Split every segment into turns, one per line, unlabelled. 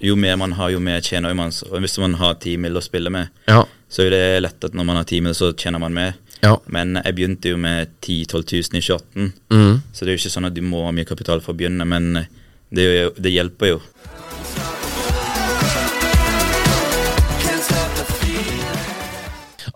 Jo mer man har, jo mer tjener man. Så Hvis man har ti mil å spille med,
Ja.
så er det lett at når man har ti mil, så tjener man mer.
Ja.
Men jeg begynte jo med 10 000-12 000 i 2018,
Mm.
så det er jo ikke sånn at du må ha mye kapital for å begynne, men det, er jo- det hjelper jo.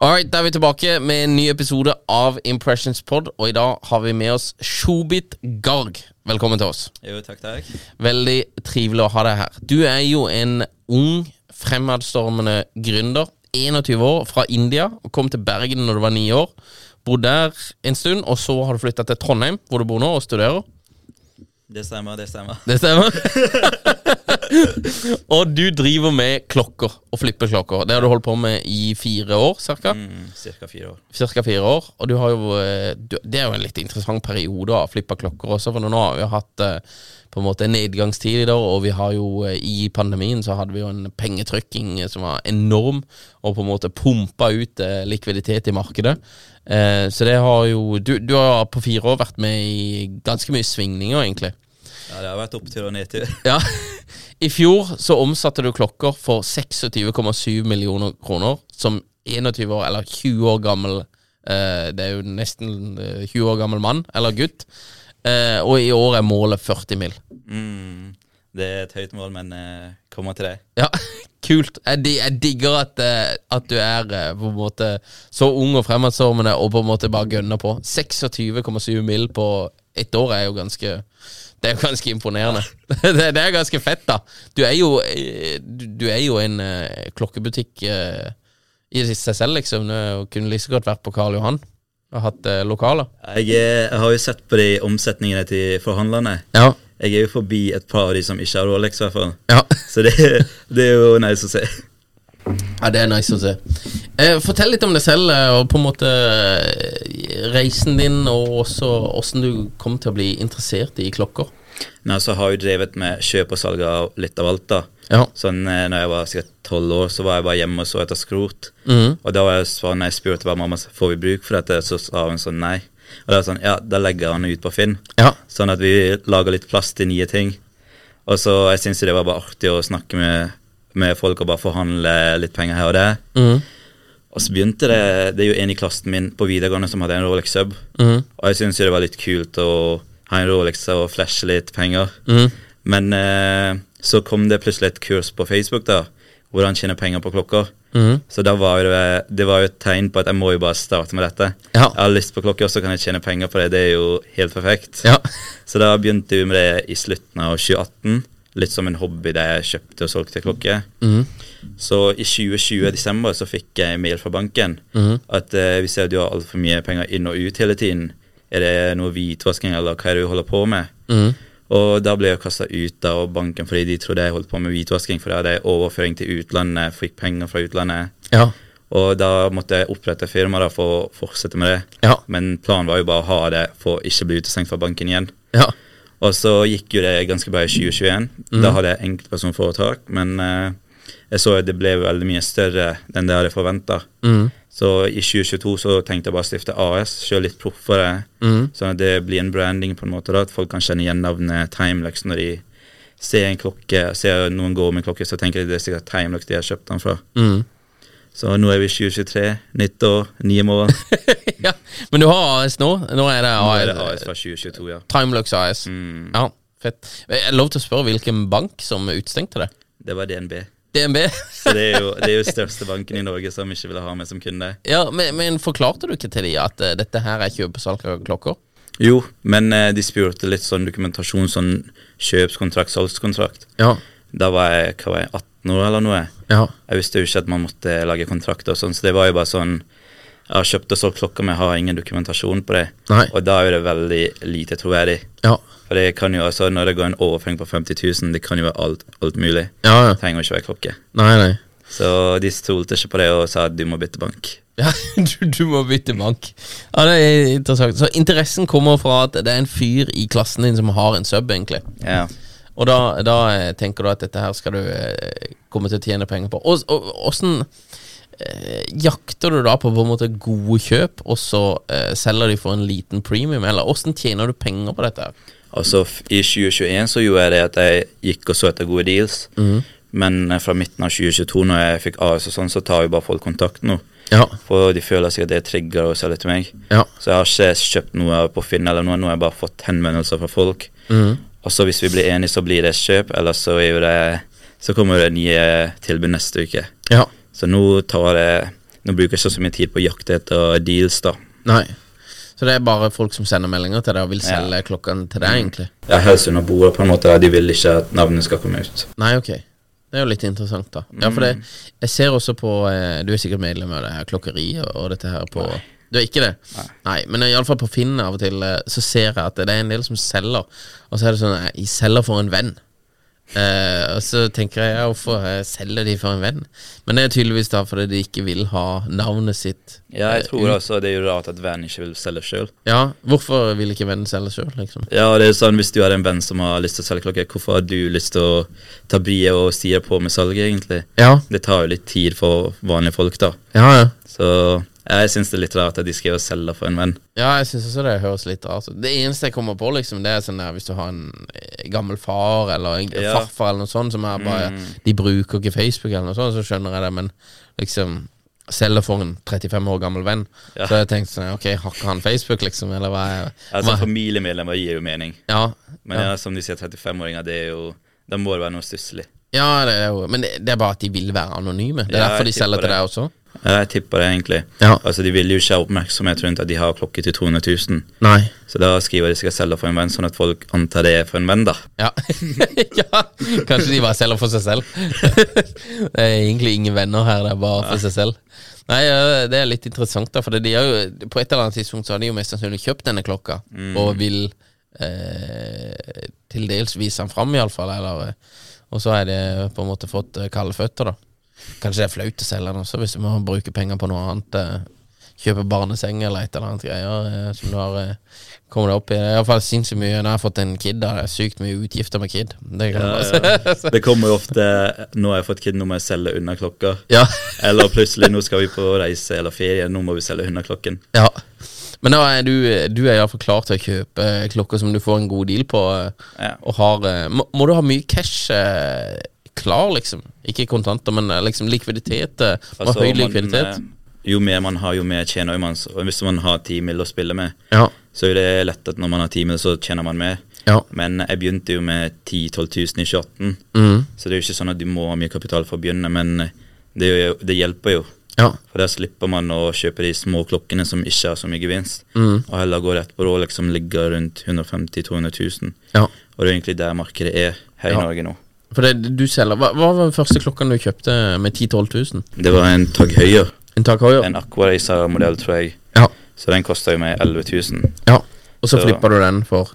Alright, Da er vi tilbake med en ny episode av Impressions Pod, og i dag har vi med oss Shobit Garg. Velkommen til oss.
Jo, takk, takk.
Veldig trivelig å ha deg her. Du er jo en ung, fremadstormende gründer. 21 år, fra India, og kom til Bergen når du var ni år. Bodde der en stund, og så har du flytta til Trondheim, hvor du bor nå, og studerer.
Det stemmer, det stemmer.
Det stemmer. og du driver med klokker, og flipper klokker. Det har du holdt på med i fire år, cirka.
Mm, cirka fire år.
Cirka fire år. Og du har jo eh, du, Det er jo en litt interessant periode av flippa klokker også, for nå har vi jo hatt eh, på en måte en nedgangstid i dag, og vi har jo eh, i pandemien så hadde vi jo en pengetrykking eh, som var enorm, og på en måte pumpa ut eh, likviditet i markedet. Eh, så det har jo du, du har på fire år vært med i ganske mye svingninger, egentlig.
Ja, det har vært opptur og nedtur.
Ja. I fjor så omsatte du klokker for 26,7 millioner kroner som 21 år eller 20 år gammel eh, Det er jo nesten eh, 20 år gammel mann eller gutt. Eh, og i år er målet 40 mil.
Mm, det er et høyt mål, men eh, kommer til det.
Ja, kult. Jeg, di- jeg digger at, eh, at du er eh, på en måte så ung og fremadstormende og på en måte bare gønner på. 26,7 mil på ett år er jo ganske Det er jo ganske imponerende. det, det er ganske fett, da. Du er jo, eh, du du er jo en eh, klokkebutikk eh, i seg selv, liksom. Du kunne like så godt vært på Karl Johan og hatt eh, lokaler.
Jeg, eh, jeg har jo sett på de omsetningene til forhandlerne.
Ja.
Jeg er jo forbi et par av de som ikke har Rolex, i hvert fall.
Ja.
Så det, det er jo nice å se.
Ja, det er nice å se. Eh, fortell litt om deg selv, eh, og på en måte eh, reisen din, og også åssen du kom til å bli interessert i klokker.
Nei, så har altså, jeg jo drevet med kjøp og salg av litt av alt, da.
Ja.
Sånn, eh, når jeg var sikkert tolv år, så var jeg bare hjemme og så etter skrot. Og da var jeg sånn, når jeg spurte hva mamma sa, får vi bruk for dette, så sa hun sånn nei. Og da var jeg sånn, ja, da legger jeg han ut på Finn.
Ja.
Sånn at vi lager litt plass til nye ting. Og så jeg syns det var bare artig å snakke med, med folk og bare forhandle litt penger her og der. Og så begynte det Det er jo en i klassen min på videregående som hadde en Rolex Sub. Og jeg syns det var litt kult å ha en Rolex og flashe litt penger. Men eh, så kom det plutselig et kurs på Facebook, da. Hvordan tjene penger på klokker. Så da var det, det var jo et tegn på at jeg må jo bare starte med dette.
Ja.
Jeg har lyst på klokker, så kan jeg tjene penger på det. Det er jo helt perfekt.
Ja.
Så da begynte vi med det i slutten av 2018. Litt som en hobby der jeg kjøpte og solgte klokker. Så i 2020 i desember så fikk jeg mail fra banken at eh, vi ser at du har altfor mye penger inn og ut hele tiden. Er det noe hvitvasking, eller hva er det du holder på med? Og da ble jeg kasta ut av banken fordi de trodde jeg holdt på med hvitvasking, for da hadde jeg overføring til utlandet, fikk penger fra utlandet.
Ja.
Og da måtte jeg opprette firma da for å fortsette med det.
Ja.
Men planen var jo bare å ha det for å ikke bli utestengt fra banken igjen.
Ja.
Og så gikk jo det ganske bra i 2021. Da hadde jeg enkeltpersonforetak, men eh, jeg så at det ble veldig mye større enn det jeg hadde forventa. Så i 2022 så tenkte jeg bare å stifte AS, kjøre litt proffere, sånn at det blir en branding, på en måte da, at folk kan kjenne igjen navnet Timelux når de ser en klokke, ser noen gå med klokke, så tenker de det er sikkert Timelux de har kjøpt den fra. Så nå er vi 2023, nytt år, nye mål.
ja. Men du har AS nå? Nå er det Mm.
Nå
AS.
er det AS fra 2022, ja.
Timelux AS. Ja, fett. Eh, Jeg er lov til å spørre hvilken bank som utstengte det?
Det var DNB.
DNB?
Så det er jo, det er jo største banken i Norge som ikke ville ha meg som kunde.
ja, men, men forklarte du ikke til de at eh, dette her er kjøp og salg av klokker?
Jo, men eh, de spurte litt sånn dokumentasjon, sånn kjøpskontrakt, salgskontrakt.
Ja.
Da var jeg hva var jeg, 18 år eller noe.
Ja.
Jeg visste jo ikke at man måtte lage kontrakter og sånn, så det var jo bare sånn Jeg har kjøpt og solgt klokker, men jeg har ingen dokumentasjon på det.
Nei.
Og da er jo det veldig lite troverdig.
Ja.
For det kan jo altså, når det går en overføring på 50 000, det kan jo være alt, alt mulig.
Ja, ja.
Det trenger jo ikke være klokke.
Nei, nei.
Så de stolte ikke på det og sa at du må bytte bank.
Ja, du, du må bytte bank. Ja, det er interessant. Så interessen kommer fra at det er en fyr i klassen din som har en sub, egentlig.
Ja.
Og da, da eh, tenker du at dette her skal du eh, komme til å tjene penger på. Og, og, hvordan eh, jakter du da på på en måte gode kjøp, og så eh, selger de for en liten premium? Eller hvordan tjener du penger på dette? her?
Altså, f- I 2021 så gjorde jeg det at jeg gikk og så etter gode deals. Men eh, fra midten av 2022, når jeg fikk AS og sånn, så tar jo bare folk kontakt nå.
Ja,
For de føler seg at det trigger å selge til meg.
ja,
Så jeg har ikke kjøpt noe på Finn eller noe, nå har jeg bare fått henvendelser fra folk. Og så hvis vi blir enige, så blir det et kjøp, ellers så, er jo det, så kommer det nye tilbud neste uke.
ja.
Så nå tar jeg Nå bruker jeg ikke så mye tid på å jakte etter deals, da.
Nei. Så det er bare folk som sender meldinger til deg og vil
Ja.
selge klokken til deg, egentlig?
Jeg er helst under bordet, på en måte. De vil ikke at navnet skal komme ut.
Nei, ok. Det er jo litt interessant, da. Ja, for det, jeg ser også på eh, Du er sikkert medlem av det her klokkeriet og dette her på Du er ikke det? Nei, men iallfall på Finn av og til eh, så ser jeg at det er en del som selger, og så er det sånn eh, Jeg selger for en venn. Eh, og så tenker jeg ja, hvorfor eh, selger de for en venn? Men det er tydeligvis da fordi de ikke vil ha navnet sitt.
Ja, jeg tror også det er jo rart at vennen ikke vil selge sjøl.
Ja, hvorfor vil ikke vennen selge sjøl, liksom?
Ja, det er sånn, hvis du hadde en venn som har lyst til å selge klokke, hvorfor har du lyst til å ta brie og stire på med salget, egentlig?
Ja,
Det tar jo litt tid for vanlige folk, da.
ja, ja.
Så jeg syns det er litt rart at de skal jo selge for en venn.
Ja, jeg syns også det høres litt rart ut. Det eneste jeg kommer på, liksom, det er sånn der hvis du har en eh, gammel far eller en
Ja. Mm.
farfar eller noe sånt som er bare De bruker ikke Facebook eller noe sånt, så skjønner jeg det, men liksom Selger for en 35 år gammel venn.
Ja.
Så jeg tenkte sånn Ok, har ikke han Facebook, liksom? Eller hva er
Altså,
hva-
Familiemedlemmer gir jo mening,
ja,
men ja, som de sier, 35-åringer, det er jo Da må det være noe stusslig.
ja, det er jo Men det, det er bare at de vil være anonyme. Det er
Ja,
derfor de
jeg tipper
selger til
det.
deg også.
Ja, jeg tipper det, egentlig.
Ja.
Altså, De vil jo ikke ha oppmerksomhet rundt at de har klokke til 200 000,
Nei.
så da skriver de skal selge for en venn, sånn at folk antar det er for en venn, da.
Ja. ja. Kanskje de bare selger for seg selv. det er egentlig ingen venner her, det er bare for seg selv. Nei, ja, Det er litt interessant, da for de har jo, på et eller annet tidspunkt så har de jo mest sannsynlig kjøpt denne klokka, og vil eh, til dels vise den fram, iallfall. eh, Og så har de på en måte fått eh, kalde føtter, da. Kanskje det er flaut å selge den også, hvis du må bruke penger på noe annet. Eh, kjøpe barneseng eller et eller annet greier eh, som du har eh, kommet deg opp i. Det er iallfall sinnssykt mye. Nå har jeg fått en kid, da. Det er sykt mye utgifter med kid. Det kan jeg bare si.
Det kommer jo ofte Nå har jeg fått kid, nå må jeg selge unna klokka.
Ja.
Eller plutselig, nå skal vi på reise eller ferie, nå må vi selge unna klokken.
ja. Men da er du, du er iallfall klar til å kjøpe eh, klokker som du får en god deal på. eh,
Ja.
Og har eh, må, må du ha mye cash eh, klar, liksom? Ikke kontanter, men eh, liksom likviditet. eh, Og
Altså,
høy
man,
likviditet.
eh, Jo mer man har, jo mer tjener man. Så- Og hvis man har ti mil å spille med,
Ja.
så er det lett at når man har ti mil, så tjener man mer.
Ja.
Men jeg begynte jo med 10 000-12 000 i 2018,
Mm.
så det er jo ikke sånn at du må ha mye kapital for å begynne, men eh, det, er jo- det hjelper jo.
Ja.
For da slipper man å kjøpe de små klokkene som ikke har så mye gevinst, og heller gå rett på råd, liksom ligger rundt 150 000-200 000.
ja.
Og det er egentlig der markedet er her i
Ja.
Norge nå.
For det, du selger hva, hva var den første klokken du kjøpte eh, med 10 000-12 000?
Det var en Tag Heuer,
En tak høyere?
en Aqua Racer-modell, tror jeg.
Ja.
Så den kosta jo meg 11 000.
ja. Og så
Så-
flipper du den for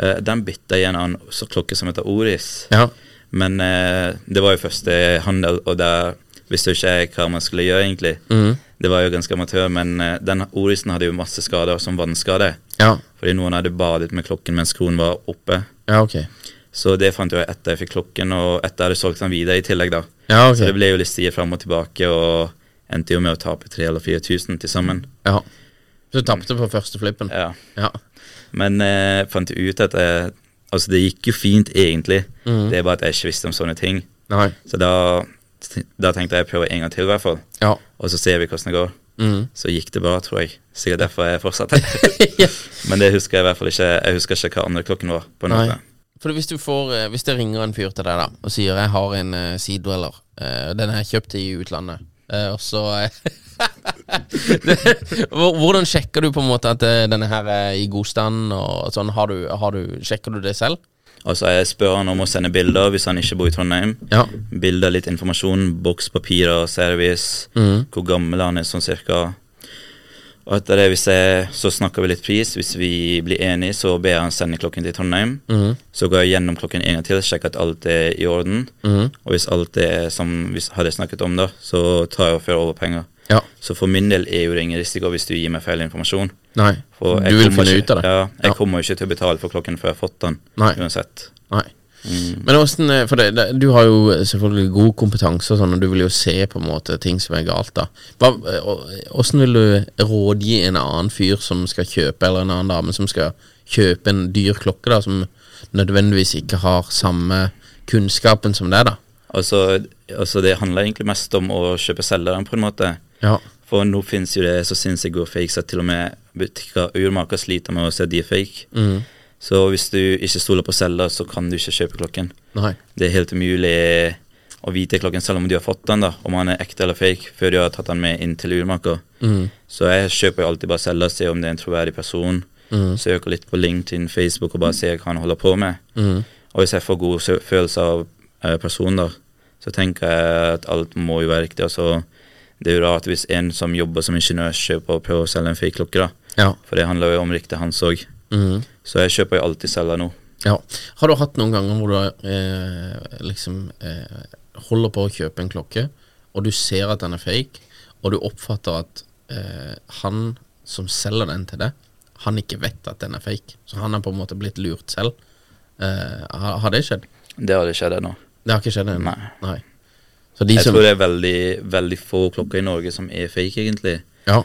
Eh, den bytta jeg i en annen så klokke som heter Oris.
Ja.
Men eh, det var jo første handel, og der visste jo ikke jeg hva man skulle gjøre, egentlig. Det var jo ganske amatør, men eh, den Orisen hadde jo masse skader, som vannskade.
Ja.
Fordi noen hadde badet med klokken mens kronen var oppe.
ja, ok.
Så det fant jeg etter jeg fikk klokken, og etter jeg hadde solgt den videre i tillegg, da.
Ja, ok.
Så det ble jo litt stier fram og tilbake, og endte jo med å tape 3000 eller 4000 til sammen.
Ja. Så du tapte på første flippen?
Ja.
Ja.
Men eh, fant jo ut at jeg, Altså, det gikk jo fint, egentlig.
Mm.
Det er bare at jeg ikke visste om sånne ting.
Nei.
Så da, da tenkte jeg prøve en gang til, i hvert fall.
Ja.
Og så ser vi hvordan det går.
Mm.
Så gikk det bra, tror jeg. Sikkert derfor jeg fortsatte. Men det husker jeg i hvert fall ikke. Jeg husker ikke hva andre klokken var. på
Nei.
natta.
For hvis, du får, eh, hvis det ringer en fyr til deg da og sier 'jeg har en uh, sidweller', eh, den har jeg kjøpt i utlandet, eh, og så eh, det- hvor- Hvordan sjekker du på en måte at eh, denne her er i god stand? og sånn, har du, har du, Sjekker du det selv?
Og så Altså, jeg spør han om å sende bilder hvis han ikke bor i Trondheim.
Ja.
Bilder, litt informasjon, boks, papirer, service,
Mm.
hvor gammel han er sånn cirka. Og etter det, hvis jeg, så snakker vi litt pris. Hvis vi blir enige, så ber jeg han sende klokken til Trondheim.
Mm.
Så går jeg gjennom klokken en gang til, sjekker at alt er i orden.
Mm.
Og hvis alt er som vi s- hadde snakket om, da, så tar jeg og fører over penger.
Ja.
Så for min del er jo det ingen risiko hvis du gir meg feil informasjon.
Nei.
For jeg
du vil
kommer
finne
ikke,
ut av det?
Ja, jeg
Ja.
kommer jo ikke til å betale for klokken før jeg har fått den,
Nei.
uansett.
Nei. Men åssen eh, For det, det, du har jo eh, selvfølgelig god kompetanse, og sånn Og du vil jo se på en måte ting som er galt. da Hva, eh, og- Åssen vil du rådgi en annen fyr som skal kjøpe, eller en annen dame som skal kjøpe en dyr klokke, da som nødvendigvis ikke har samme kunnskapen som deg, da?
Altså, altså det handler egentlig mest om å kjøpe selgeren, på en måte.
Ja.
For nå finnes jo det så sinnssykt gode fakes at til og med butikker og urmaker sliter med å se de er fake. Så hvis du ikke stoler på selger, så kan du ikke kjøpe klokken.
Nei.
Det er helt umulig å vite klokken selv om du har fått den, da, om han er ekte eller fake, før du har tatt den med inn til urmaker. Så jeg kjøper jo alltid bare selger, ser om det er en troverdig person. Søker litt på LinkedIn, Facebook og bare ser hva han holder på med. Og hvis jeg får god sø- følelse av eh, personen, da, så tenker jeg at alt må jo være riktig. Altså, det er jo rart hvis en som jobber som ingeniør, kjøper og prøver å selge en fake klokke, da.
Ja.
For det handler jo om riktig hans òg. Så jeg kjøper jo alltid selger nå.
ja. Har du hatt noen ganger hvor du eh, liksom eh, holder på å kjøpe en klokke, og du ser at den er fake, og du oppfatter at eh, han som selger den til deg, han ikke vet at den er fake. Så han har på en måte blitt lurt selv. Eh, har, har det skjedd?
Det har det skjedd ennå.
Det har ikke skjedd ennå?
Nei.
Så de
Jeg
som
tror det er veldig, veldig få klokker i Norge som er fake, egentlig.
Ja.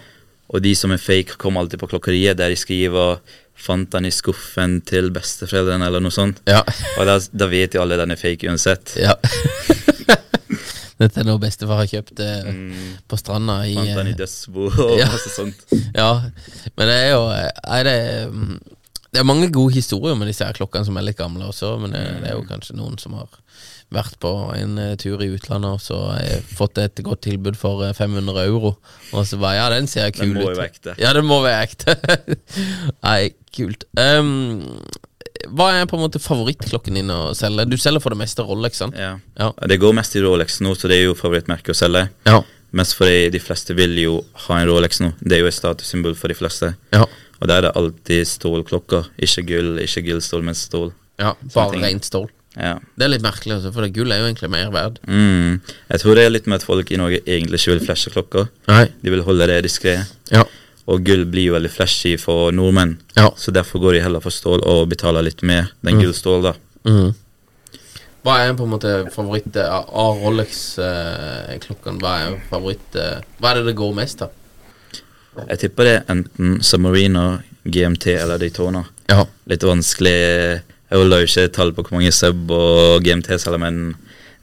Og de som er fake, kommer alltid på klokkeriet der de skriver 'fant den i skuffen til besteforeldrene', eller noe sånt.
Ja.
Og da, da vet jo alle den er fake uansett.
ja. Dette er noe bestefar har kjøpt eh,
Mm.
på stranda i
Fant den
eh,
i dødsbo og
Ja.
masse sånt.
Ja, men det er jo Nei, det er, mm, det er mange gode historier med disse her klokkene som er litt gamle også, men det, det er jo kanskje noen som har vært på en eh, tur i utlandet og så eh, fått et godt tilbud for eh, 500 euro, og så bare Ja, den ser kul
Den
ut.
må jo være ekte.
Ja, den må være ekte. Nei, kult. Ehm, hva er på en måte favorittklokken din å selge? Du selger for det meste Rolex, sant?
Ja.
Ja.
Det går mest i Rolex nå, så det er jo favorittmerket å selge.
Ja.
Mest fordi de fleste vil jo ha en Rolex nå. Det er jo et statussymbol for de fleste.
Ja.
Og der er det alltid stålklokker. Ikke gull, ikke gullstål, men stål.
ja
Sånne
bare
ting.
rent stål.
Ja.
Det er litt merkelig, altså, for det gull er jo egentlig mer verd.
Mm. Jeg tror det er litt med at folk i Norge egentlig ikke vil flashe klokker.
Nei.
De vil holde det diskré.
Ja.
Og gull blir jo veldig flashy for nordmenn,
Ja. Mm.
så derfor går de heller for stål og betaler litt mer. Den gullstål, da.
Hva er på en måte favoritt eh, av Rolex-klokken? Hva er favoritt eh, Hva er det det går mest av?
Jeg tipper det er enten Submariner, GMT eller Daytona.
Ja.
Litt vanskelig Jeg holder jo ikke tall på hvor mange sub og GMT selger, men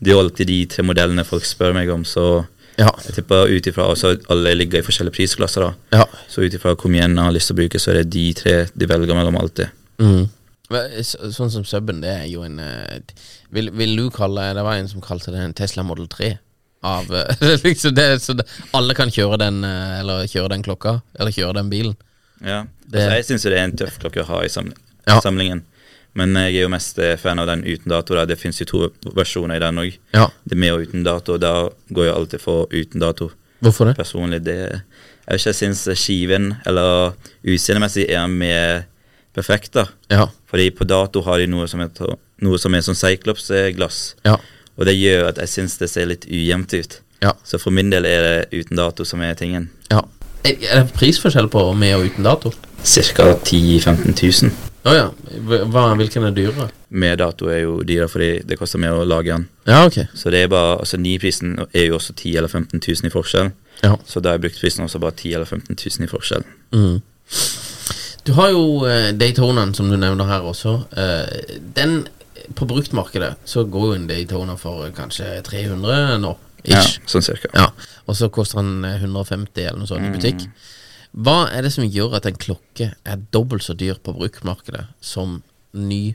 det er jo alltid de tre modellene folk spør meg om, så
Ja.
jeg tipper ut ifra også at alle ligger i forskjellige prisklasser, da.
ja.
Så ut ifra hvor mye en har lyst til å bruke, så er det de tre de velger mellom alltid.
Mm. Men, s- Sånn som Subben, det er jo en eh, vil, vil du kalle Det var en som kalte det en Tesla Model 3. Av, eh, liksom det, så det, alle kan kjøre den, eh, eller kjøre den klokka, eller kjøre den bilen.
Ja,
Det-
altså jeg syns det er en tøff klokke å ha i samling,
Ja.
samlingen. Men jeg er jo mest eh, fan av den uten dato. Da. Det fins jo to versjoner i den òg.
Ja.
Det med og uten dato. Da går jeg alltid for uten dato.
Hvorfor det?
Personlig, det Jeg vet ikke, jeg syns skiven, eller utseendemessig, er den mer perfekt, da.
Ja.
Fordi på dato har de noe som er, noe som er sånn cyclops-glass.
Ja.
Og det gjør at jeg syns det ser litt ujevnt ut.
Ja.
Så for min del er det uten dato som er tingen.
ja. Er er det prisforskjell på med og uten dato?
Cirka 10 000-15 000.
Å ja. Hva- Hva, hvilken er dyrere?
Med dato er jo dyrere fordi det koster mer å lage den.
Ja, ok.
Så det er bare, altså Nyprisen er jo også 10 000 eller 15 000 i forskjell.
Ja.
Så da er bruktprisen også bare 10 000 eller 15 000 i forskjell.
Du har jo eh, Daytonaen, som du nevner her også. Eh, den På bruktmarkedet så går jo en Daytona for eh, kanskje 300 nå.
Ja,
Ish.
sånn cirka.
Ja. Og så koster han eh, 150 eller noe sånt i butikk. Hva er det som gjør at en klokke er dobbelt så dyr på bruktmarkedet som ny?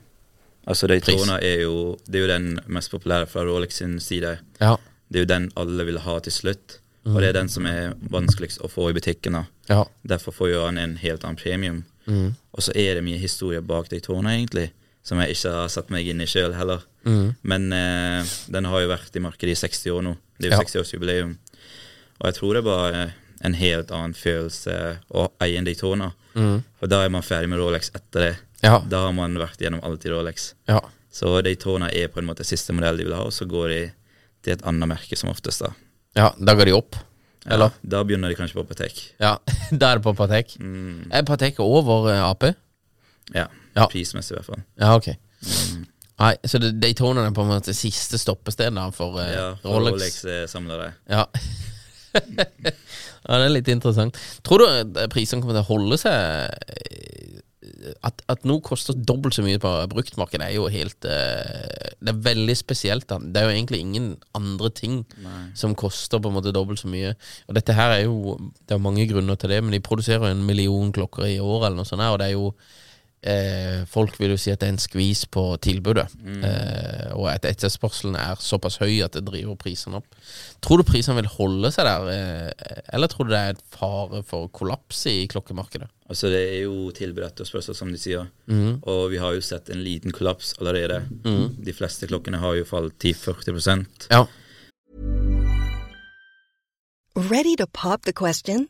Altså Daytona er jo, det er jo den mest populære fra Rolex sin side.
Ja.
Det er jo den alle vil ha til slutt, og det er den som er vanskeligst å få i butikken. da.
Ja.
Derfor får jo han en helt annen premium.
Mm.
Og så er det mye historie bak Daytona, egentlig, som jeg ikke har satt meg inn i sjøl heller.
Mm.
Men eh, den har jo vært i markedet i 60 år nå. Det er jo
Ja.
60-årsjubileum. Og jeg tror det var eh, en helt annen følelse å eie en Daytona. For da er man ferdig med Rolex etter det.
Mm. Ja.
Da har man vært gjennom alt i Rolex.
ja.
Så Daytona er på en måte siste modell de vil ha, og så går de til et annet merke som oftest. Da
Ja, da går de opp. Eller?
Da begynner de kanskje på apotek.
Ja. Da er det på Patek. Er Patek over eh, Ap?
Ja,
Ja.
Prismessig, i hvert fall.
Ja, ok. Nei, så det- Daytonaen er på en måte siste stoppested da for eh,
Ja, for
Rolex.
Rolex eh, samler det.
Ja. ja, det er litt interessant. Tror du at prisene kommer til å holde seg eh, At, at noe koster dobbelt så mye på bruktmarkedet, er jo helt eh, Det er veldig spesielt. da. Det er jo egentlig ingen andre ting som koster på en måte dobbelt så mye. Og dette her er jo Det er jo mange grunner til det, men de produserer jo en million klokker i år eller noe sånt, her, og det er jo eh, folk vil jo si at det er en skvis på tilbudet, eh, og at etterspørselen er såpass høy at det driver prisene opp. Tror du prisene vil holde seg der, eh, eller tror du det er et fare for kollaps i klokkemarkedet?
Altså Det er jo tilbud etterspørsel, som de sier. Og vi har jo sett en liten kollaps allerede. De fleste klokkene har jo falt 10-40
Ja.
Ready to pop the question?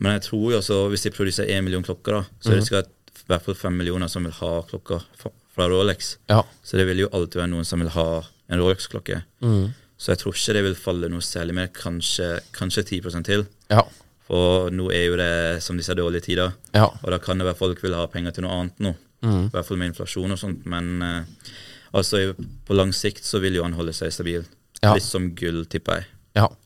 Men jeg tror jo også, hvis de produserer 1 million klokker, da, så er det sikkert i hvert fall 5 millioner som vil ha klokker fra- fra Rolex.
Ja.
Så det vil jo alltid være noen som vil ha en Rolex-klokke. Så jeg tror ikke det vil falle noe særlig mer, kanskje, kanskje 10 til.
Ja.
For nå er jo det som disse dårlige tider,
Ja.
og da kan det være folk vil ha penger til noe annet nå.
Mm.
I hvert fall med inflasjon og sånt, men eh, altså i- på lang sikt så vil jo han holde seg stabil.
Ja.
Litt som gull, tipper jeg.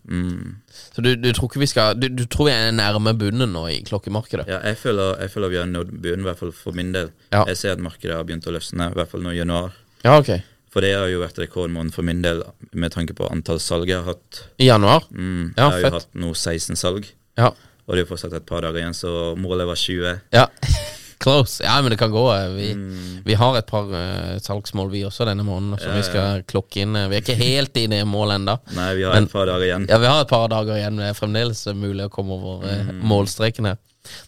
Mm.
ja. Så du, du tror ikke vi skal du, du tror vi er nærme bunnen nå i klokkemarkedet?
Ja, jeg føler, jeg føler vi har nådd bunnen, i hvert fall for min del.
Ja.
Jeg ser at markedet har begynt å løsne, i hvert fall nå i januar.
Ja, ok.
For det har jo vært rekordmåned for min del, med tanke på antall salg jeg har hatt.
I januar?
Mm,
Ja,
jeg har jo
fett.
hatt nå 16 salg,
Ja.
og det er jo fortsatt et par dager igjen, så målet var 20.
ja. Close. Ja, men det kan gå. eh, Vi,
Mm.
vi har et par eh, salgsmål, vi også, denne måneden. Så vi skal klokke inn. eh, Vi er ikke helt i det målet ennå.
Nei, vi har
Men-
et par dager igjen.
Ja, vi har et par dager igjen, men det er fremdeles mulig å komme over eh,
Mm.
målstreken her.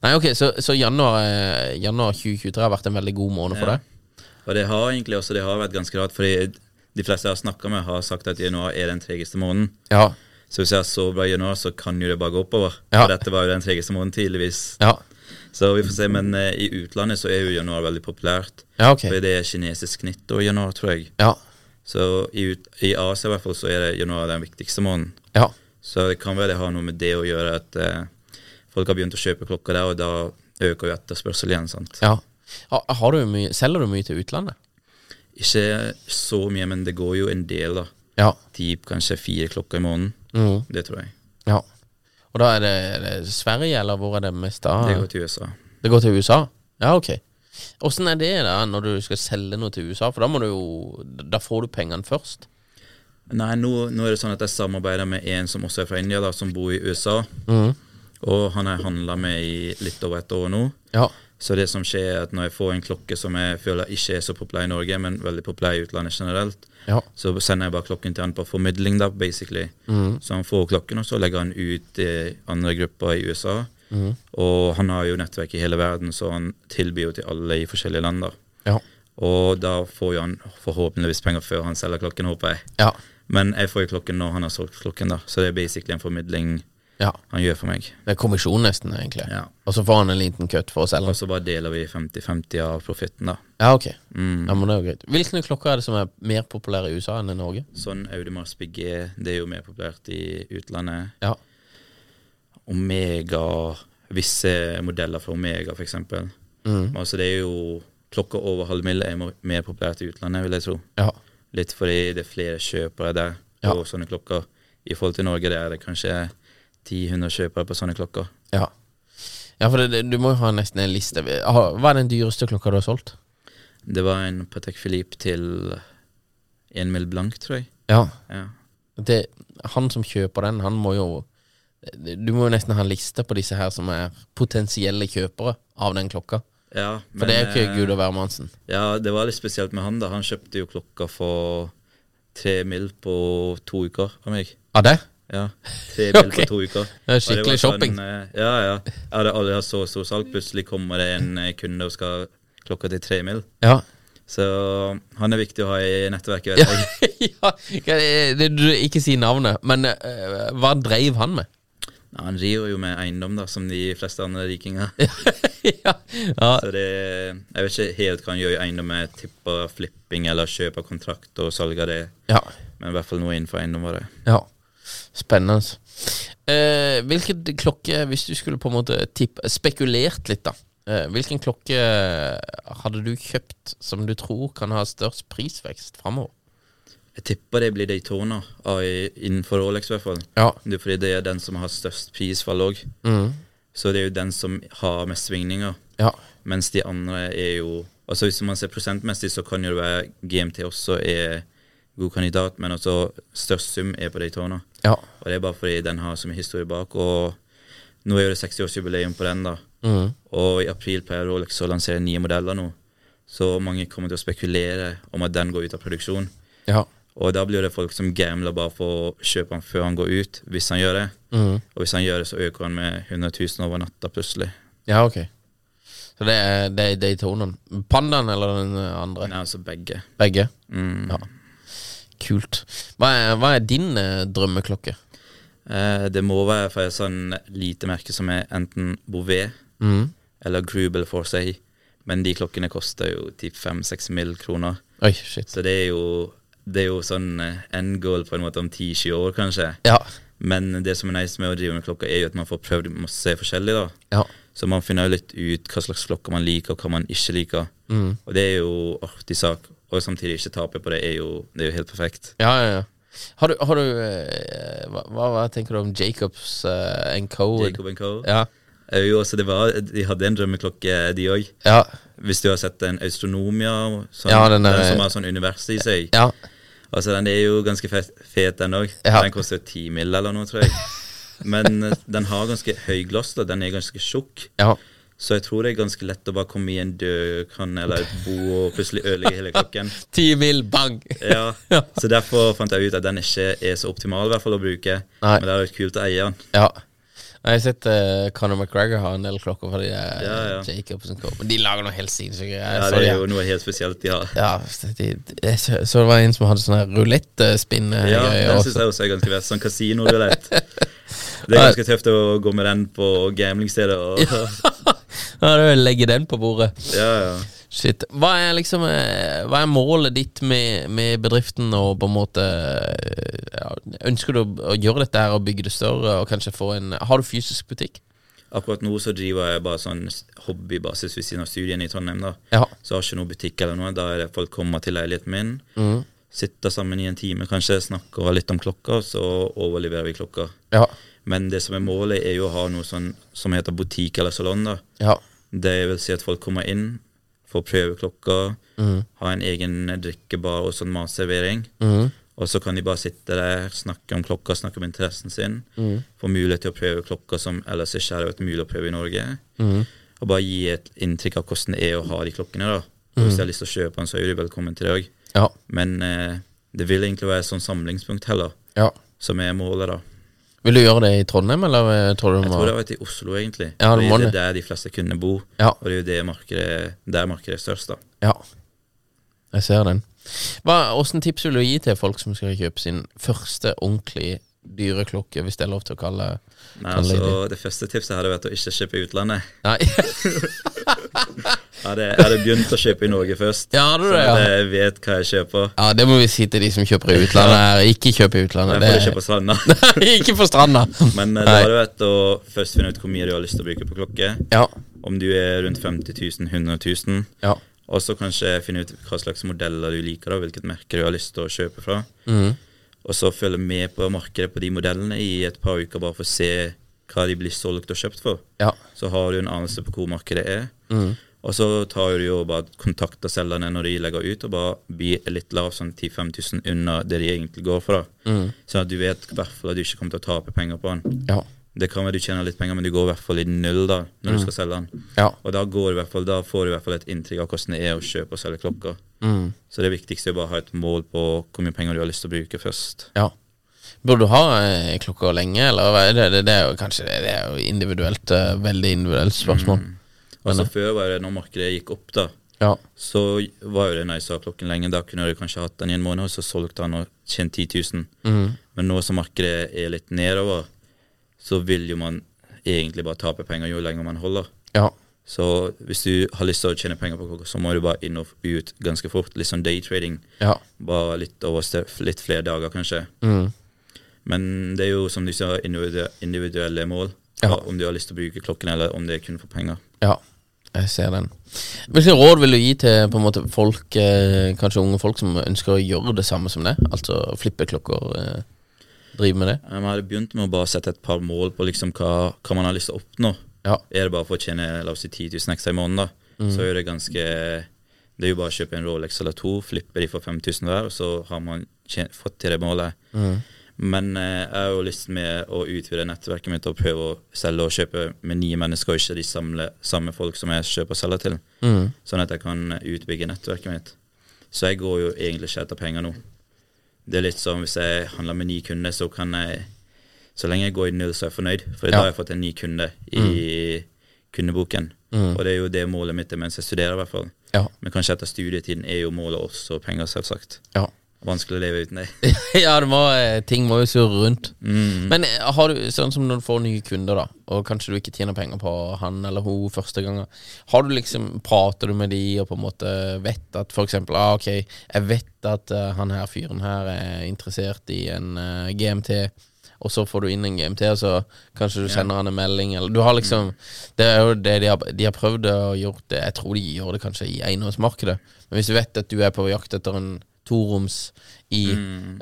Nei, ok, så, så januar, eh, januar 2023 har vært en veldig god måned for
Ja.
deg?
Og det har egentlig også det har vært ganske rart, fordi de fleste jeg har snakka med, har sagt at januar er den tregeste måneden.
Ja.
Så hvis jeg har så bra januar, så kan jo det bare gå oppover.
Ja.
For dette var jo den tregeste måneden tidligvis.
Ja.
Så vi får se, men eh, i utlandet så er jo januar veldig populært.
Ja, ok.
For det er kinesisk nytt og januar, tror jeg.
Ja.
Så i, ut, i Asia i hvert fall så er det januar den viktigste måneden.
Ja.
Så det kan være det har noe med det å gjøre at eh, folk har begynt å kjøpe klokker der, og da øker jo etterspørsel igjen. sant?
ja. Ha- Har du mye, selger du mye til utlandet?
Ikke så mye, men det går jo en del, da.
Ja.
Typ kanskje fire klokker i måneden. Det tror jeg.
ja. Og da er det, er det Sverige, eller hvor er det mest av?
Det går til USA.
Det går til USA? Ja, ok. Åssen er det da når du skal selge noe til USA? For da må du jo Da får du pengene først.
Nei, nå, nå er det sånn at jeg samarbeider med en som også er fra India, da, som bor i USA. Og han har jeg handla med i litt over et år nå.
Ja.
Så det som skjer er at når jeg får en klokke som jeg føler ikke er så populær i Norge, men veldig populær i utlandet generelt,
Ja.
så sender jeg bare klokken til han på formidling, da, basically. Så han får klokken, og så legger han ut i andre grupper i USA. Og han har jo nettverk i hele verden, så han tilbyr jo til alle i forskjellige land, da.
Ja.
Og da får jo han forhåpentligvis penger før han selger klokken, håper jeg.
Ja.
Men jeg får jo klokken når han har solgt klokken, da. Så det er basically en formidling
ja.
han gjør for meg.
Det er kommisjon, nesten, egentlig.
Ja.
Og så får han en liten kutt for å
Og
selge.
så bare deler vi 50-50 av profitten, da.
Ja, ok. Ja, men det er jo greit. Hvilke klokker er det som er mer populære i USA enn i Norge?
Sånn Audemars Piguet, det er jo mer populært i utlandet.
Ja.
Omega, visse modeller fra Omega, f.eks. Mm. Altså, det er jo Klokka over halv mille er mo- mer populært i utlandet, vil jeg tro.
Ja.
Litt fordi det er flere kjøpere der
Ja.
på sånne klokker. I forhold til Norge der er det kanskje 10-100 kjøpere på sånne klokker.
Ja, ja for det, det, du må jo ha nesten en liste. Ha- Hva er den dyreste klokka du har solgt?
Det var en Patek Philippe til en mil blank, tror jeg.
Ja.
Ja.
Det, han som kjøper den, han må jo Du må jo nesten ha en liste på disse her som er potensielle kjøpere av den klokka.
ja
For det er jo ikke
eh,
Gud og hvermannsen.
Ja, det var litt spesielt med han da. Han kjøpte jo klokka for tre mil på to uker av meg.
Av det?
Ja, tre mil
Ok.
på to uker. Og
Det er
var
skikkelig shopping.
Sånn, eh, ja, ja. Jeg hadde aldri hatt så stor salg. Plutselig kommer det en eh, kunde og skal ha klokka til tre mil.
Ja.
Så han er viktig å ha i nettverket, vet jeg.
ja. det- det- du- Ikke si navnet, men eh, hva dreiv han med?
Ja, han driver jo med eiendom, da, som de fleste andre rikinger.
ja. ja.
Så det, jeg vet ikke helt hva han gjør i eiendom. Jeg tipper flipping eller kjøp av kontrakt og salg av det.
ja.
Men i hvert fall noe innenfor eiendom var det.
Ja, spennende. Eh, hvilken klokke, hvis du skulle på en måte tippe, spekulert litt, da. Eh, hvilken klokke hadde du kjøpt som du tror kan ha størst prisvekst framover?
Jeg tipper det blir Daytona av- innenfor Rolex, i hvert fall.
Ja. Mm.
Det er fordi det er den som har størst prisfall òg. Så det er jo den som har mest svingninger.
Ja.
Mens de andre er jo Altså Hvis man ser prosentmessig, så kan jo det være GMT også er god kandidat, men også størst sum er på Daytona.
Ja.
Og det er bare fordi den har så mye historie bak. Og nå er jo det 60-årsjubileum på den, da. Og i april pleier Rolex å liksom lansere nye modeller nå. Så mange kommer til å spekulere om at den går ut av produksjon.
Ja.
Og da blir det folk som gambler bare for å kjøpe han før han går ut, hvis han gjør det. Og hvis han gjør det, så øker han med 100 000 over natta plutselig.
ja, ok. Så det er, det er Daytonaen. Pandaen eller den andre?
Nei, Mm. altså begge.
Begge? Ja. Kult. Hva er, hva er din eh, drømmeklokke?
Eh, det må være fra et sånn lite merke som er enten Bouvet eller Grubel for seg. Men de klokkene koster jo typ 5-6 mill. kroner.
Oi, shit.
Så det er jo, det er jo sånn eh, end goal på en måte om 10-20 år, kanskje.
Ja.
Men det som er nice med å drive med klokka, er jo at man får prøvd masse forskjellig, da.
Ja.
Så man finner jo litt ut hva slags klokker man liker, og hva man ikke liker. Og det er jo artig sak. Og samtidig ikke tape på det, er jo, det er jo helt perfekt.
Ja, ja, ja. Har du, har du eh, hva, hva, hva tenker du om Jacobs eh, Encode?
Jacob Co.
Ja.
Eh, Jo, altså det var, de hadde en drømmeklokke, eh, de òg.
Ja.
Hvis du har sett den Austronomia, sånn,
Ja, den
den,
er-
som har sånn univers i seg.
ja.
Altså Den er jo ganske fet, fet den òg.
Ja.
Den koster ti mill. eller noe, tror jeg. Men eh, den har ganske høy glass, da. den er ganske tjukk.
ja.
Så jeg tror det er ganske lett å bare komme i en død kran eller et bo og plutselig ødelegge hele klokken.
Ti mil, bang!
Ja, så derfor fant jeg ut at den ikke er så optimal i hvert fall å bruke.
Nei.
Men det hadde vært kult å eie den.
Ja. Jeg har sett eh, Conor McGregor har en del klokker fra de der
Ja, ja.
Jacobs Co. Men de lager noe helt sinnssykt. Jeg
Ja,
så
det
de
er
her.
jo noe helt spesielt de har.
ja, så, de, jeg så, så det var en som hadde sånn her eh, rulettspinne-greier
Ja, den syns jeg også er ganske vett. Sånn kasinodulett. Det er ganske tøft å gå med den på gamlingstedet og
Ja, du legger den på bordet.
Ja, ja.
Shit. Hva er liksom eh, Hva er målet ditt med, med bedriften og på en måte eh, ja, Ønsker du å, å gjøre dette her og bygge det større og kanskje få en Har du fysisk butikk?
Akkurat nå så driver jeg bare sånn hobbybasis ved siden av studiene i Trondheim. da
Ja.
Så jeg har ikke noen butikk eller noe. Da er det folk kommer til leiligheten min. sitte sammen i en time, kanskje snakke litt om klokka, så overleverer vi klokka.
Ja.
Men det som er målet, er jo å ha noe sånn, som heter butikk eller salong. da.
Ja.
Det vil si at folk kommer inn, får prøve klokka,
Mhm.
ha en egen drikkebar og sånn matservering.
Mhm.
Og så kan de bare sitte der, snakke om klokka, snakke om interessen sin.
Mhm.
Få mulighet til å prøve klokka som ellers ikke hadde vært mulig å prøve i Norge.
Mhm.
Og bare gi et inntrykk av hvordan det er å ha de klokkene. da.
Mhm.
Og Hvis de har lyst til å kjøpe den, så er du velkommen til det òg.
Ja.
Men eh, det vil egentlig være et sånn samlingspunkt heller,
ja.
som er målet, da.
Vil du gjøre det i Trondheim, eller eh, tror du du
Jeg
må
tror det har vært i Oslo, egentlig.
Ja,
Fordi
det må
det
det.
er der de fleste kunne bo.
Ja.
Og det er jo det markedet, der markedet er størst, da.
Ja. Jeg ser den. Hva, hvordan tips vil du gi til folk som skal kjøpe sin første ordentlig dyre klokke, hvis det er lov til å kalle
Nei,
kalle det
altså, det første tipset hadde vært å ikke kjøpe i utlandet.
det? Nei.
Jeg hadde, jeg hadde begynt å kjøpe i Norge først,
Ja, hadde du det,
sånn
ja.
at jeg vet hva jeg kjøper.
Ja, det må vi si til de som kjøper i utlandet. her. Ikke kjøp i utlandet.
Jeg får ikke på stranda.
Nei, ikke på stranda.
Men eh, det
Nei.
hadde vært å først finne ut hvor mye du har lyst til å bruke på klokke.
Ja.
Om du er rundt 50 000, 100 000.
Ja.
Og så kanskje finne ut hva slags modeller du liker, da, hvilket merke du har lyst til å kjøpe fra.
Mm.
Og så følge med på markedet på de modellene i et par uker, bare for å se hva de blir solgt og kjøpt for.
Ja.
Så har du en anelse på hvor markedet er. Og så tar du jo bare kontakt av selgerne når de legger ut, og bare blir litt lav, sånn 10 5000 under det de egentlig går for. da. Sånn at du vet i hvert fall at du ikke kommer til å tape penger på den.
Ja.
Det kan være du tjener litt penger, men du går i hvert fall i null da, når du skal selge den.
Ja.
Og da, går i hvert fall, da får du i hvert fall et inntrykk av hvordan det er å kjøpe og selge klokker. Så det viktigste er å bare ha et mål på hvor mye penger du har lyst til å bruke først.
ja. Burde du ha eh, klokka lenge, eller hva er det, det, det er jo kanskje det, det er jo individuelt, eh, veldig individuelt spørsmål.
Mm. Og så før var det når markedet gikk opp, da,
Ja.
så var jo det nice å ha klokken lenge. Da kunne du kanskje hatt den i en måned, og så solgt den og tjent 10 000.
Mhm.
Men nå som markedet er litt nedover, så vil jo man egentlig bare tape penger jo lenger man holder.
Ja.
Så hvis du har lyst til å tjene penger på klokka, så må du bare inn og ut ganske fort. Litt sånn daytrading.
Ja.
Bare litt over ste- litt flere dager, kanskje.
Mhm.
Men det er jo som du sa, individu- individuelle mål.
Ja.
Om du har lyst til å bruke klokken, eller om det er kun for penger.
Ja, jeg ser den. Hvilke råd vil du gi til på en måte folk, eh, kanskje unge folk, som ønsker å gjøre det samme som det? Altså flippe klokker, eh, drive med det?
Jeg hadde begynt med å bare sette et par mål på liksom hva, hva man har lyst til å oppnå.
Ja.
Er det bare for å tjene la oss si 10 000 ekstra i måneden, da, så er det ganske Det er jo bare å kjøpe en Rolex eller to, flippe de for 5000 hver, og så har man tjen- fått til det målet. Men eh, jeg har jo lyst med å utvide nettverket mitt og prøve å selge og kjøpe med nye mennesker, og ikke de samle, samme folk som jeg kjøper og selger til. Sånn at jeg kan utbygge nettverket mitt. Så jeg går jo egentlig ikke etter penger nå. Det er litt som hvis jeg handler med ni kunder, så kan jeg Så lenge jeg går i null, så er jeg fornøyd. For da har jeg fått en ny kunde i
Mm.
kundeboken. Og det er jo det målet mitt er mens jeg studerer, i hvert fall.
Ja.
Men kanskje etter studietiden er jo målet også penger, selvsagt.
Ja.
Vanskelig å leve uten det.
ja, det må, eh, ting må jo surre rundt. Men eh, har du, sånn som når du får nye kunder, da, og kanskje du ikke tjener penger på han eller hun første gangen, har du liksom, prater du med de og på en måte vet at for eksempel, ah, ok, jeg vet at eh, han her fyren her er interessert i en eh, GMT, og så får du inn en GMT, og så kanskje du sender han en melding, eller du har liksom Det er jo det de har, de har prøvd å gjøre det, jeg tror de gjør det kanskje i eiendomsmarkedet, men hvis du vet at du er på jakt etter en toroms i,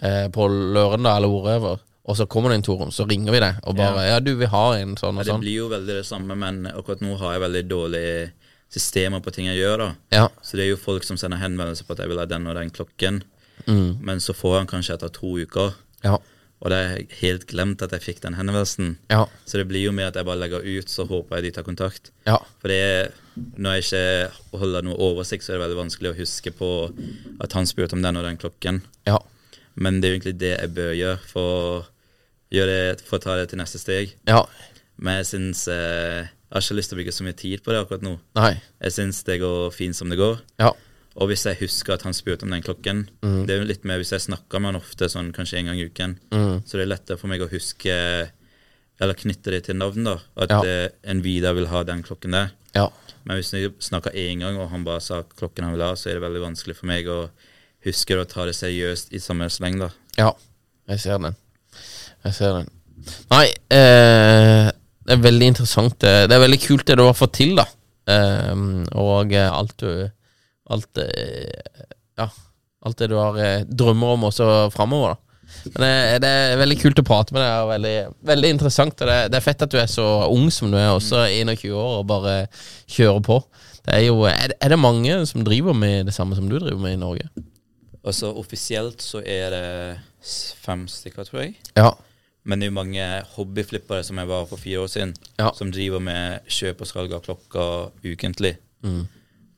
eh, på Lørenda eller wherever, og så kommer det en toroms, så ringer vi deg og bare Ja, du, vi har en sånn og
Det
sånn.
blir jo veldig det samme, men akkurat nå har jeg veldig dårlige systemer på ting jeg gjør. da.
Ja.
Så det er jo folk som sender henvendelser på at jeg vil ha den og den klokken,
Mm.
men så får han kanskje etter to uker.
Ja.
Og det er helt glemt at jeg fikk den henvendelsen.
Ja.
Så det blir jo med at jeg bare legger ut, så håper jeg de tar kontakt.
Ja.
For det er, når jeg ikke holder noe oversikt, så er det veldig vanskelig å huske på at han spurte om den og den klokken.
Ja.
Men det er jo egentlig det jeg bør gjøre for å, gjøre det, for å ta det til neste steg.
ja.
Men jeg syns eh, Jeg har ikke lyst til å bruke så mye tid på det akkurat nå.
Nei.
Jeg syns det går fint som det går.
Ja.
Og hvis jeg husker at han spurte om den klokken Det er jo litt mer hvis jeg snakker med han ofte, sånn kanskje en gang i uken, så det er lettere for meg å huske Eller knytte det til navn, da. At
Ja.
eh, en Vidar vil ha den klokken der.
Ja.
Men hvis vi snakker én gang, og han bare sa klokken han vil ha, så er det veldig vanskelig for meg å huske å ta det seriøst i samme sleng, da.
Ja, jeg ser den. Jeg ser den. Nei, eh, det er veldig interessant. Eh, Det det er veldig kult det du har fått til, da. Eh, og eh, alt du Alt eh, Ja. Alt det du har eh, drømmer om også framover, da. Men det, det er veldig kult å prate med deg, og veldig, veldig interessant. Og det, det er fett at du er så ung som du er, også 21 år, og bare kjører på. Det er, jo, er, det- er det mange som driver med det samme som du driver med i Norge?
Og så offisielt så er det s- fem stykker, tror jeg.
Ja.
Men det er jo mange hobbyflippere som jeg var for fire år siden,
Ja.
som driver med kjøp og salg av klokker ukentlig.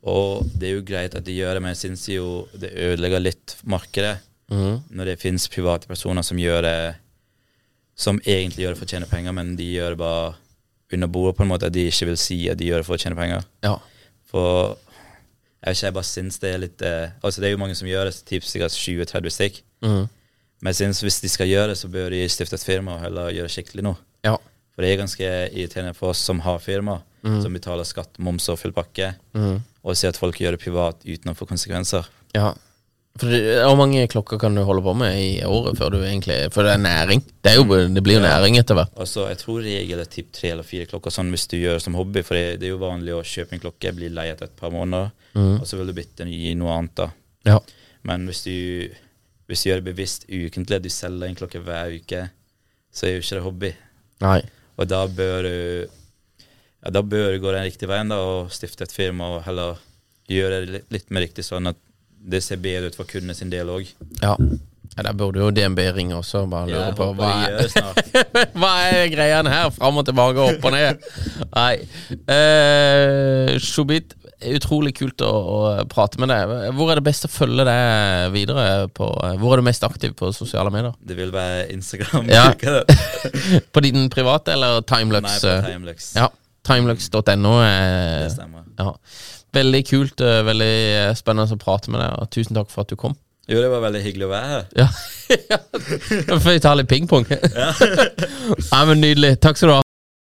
Og det er jo greit at de gjør det, men jeg syns jo det ødelegger litt markedet når det fins private personer som gjør det som egentlig gjør det for å tjene penger, men de gjør det bare under bordet, på en måte, at de ikke vil si at de gjør det for å tjene penger.
ja.
For jeg vet ikke, jeg bare syns det er litt eh, Altså, det er jo mange som gjør det, typ sikkert 20-30 stykk. Men jeg syns hvis de skal gjøre det, så bør de stifte et firma og heller gjøre det skikkelig nå.
ja.
For det er ganske irriterende for oss som har firma, som betaler skatt, moms og full pakke, og ser at folk gjør det privat uten å få konsekvenser.
Ja. For det, hvor mange klokker kan du holde på med i året før du egentlig For det er næring. Det, er jo, det blir jo næring etter hvert.
Og så Jeg tror regel er typ tre eller fire klokker, sånn hvis du gjør det som hobby. For det, det er jo vanlig å kjøpe en klokke, bli lei etter et par måneder, og så vil du bytte den i noe annet. da.
Ja.
Men hvis du, hvis du gjør det bevisst ukentlig, at du selger en klokke hver uke, så er jo ikke det hobby.
Nei.
Og da bør du ja, da bør du gå den riktige veien da, og stifte et firma og heller gjøre det litt, litt mer riktig, sånn at det ser bedre ut for kundene sin del òg.
Ja. ja der burde jo DNB ringe også og bare lure på hva
de gjør
er,
det snart.
hva er greiene her? Fram og tilbake, opp og ned. Nei. Eh, Shobit, utrolig kult å, å prate med deg. Hvor er det best å følge deg videre? På, hvor er du mest aktiv på sosiale medier?
Det vil være Instagram.
Ja.
bruker det.
På din private eller
Nei,
Timelux?
på
eh?
Timelux.
Ja, timelux.no. eh,
Det stemmer.
Ja. Veldig kult, eh, veldig eh, spennende å prate med deg, og tusen takk for at du kom.
Jo, det var veldig hyggelig å være her.
Ja, for vi tar litt pingpong. Ja, men nydelig. Takk skal du ha.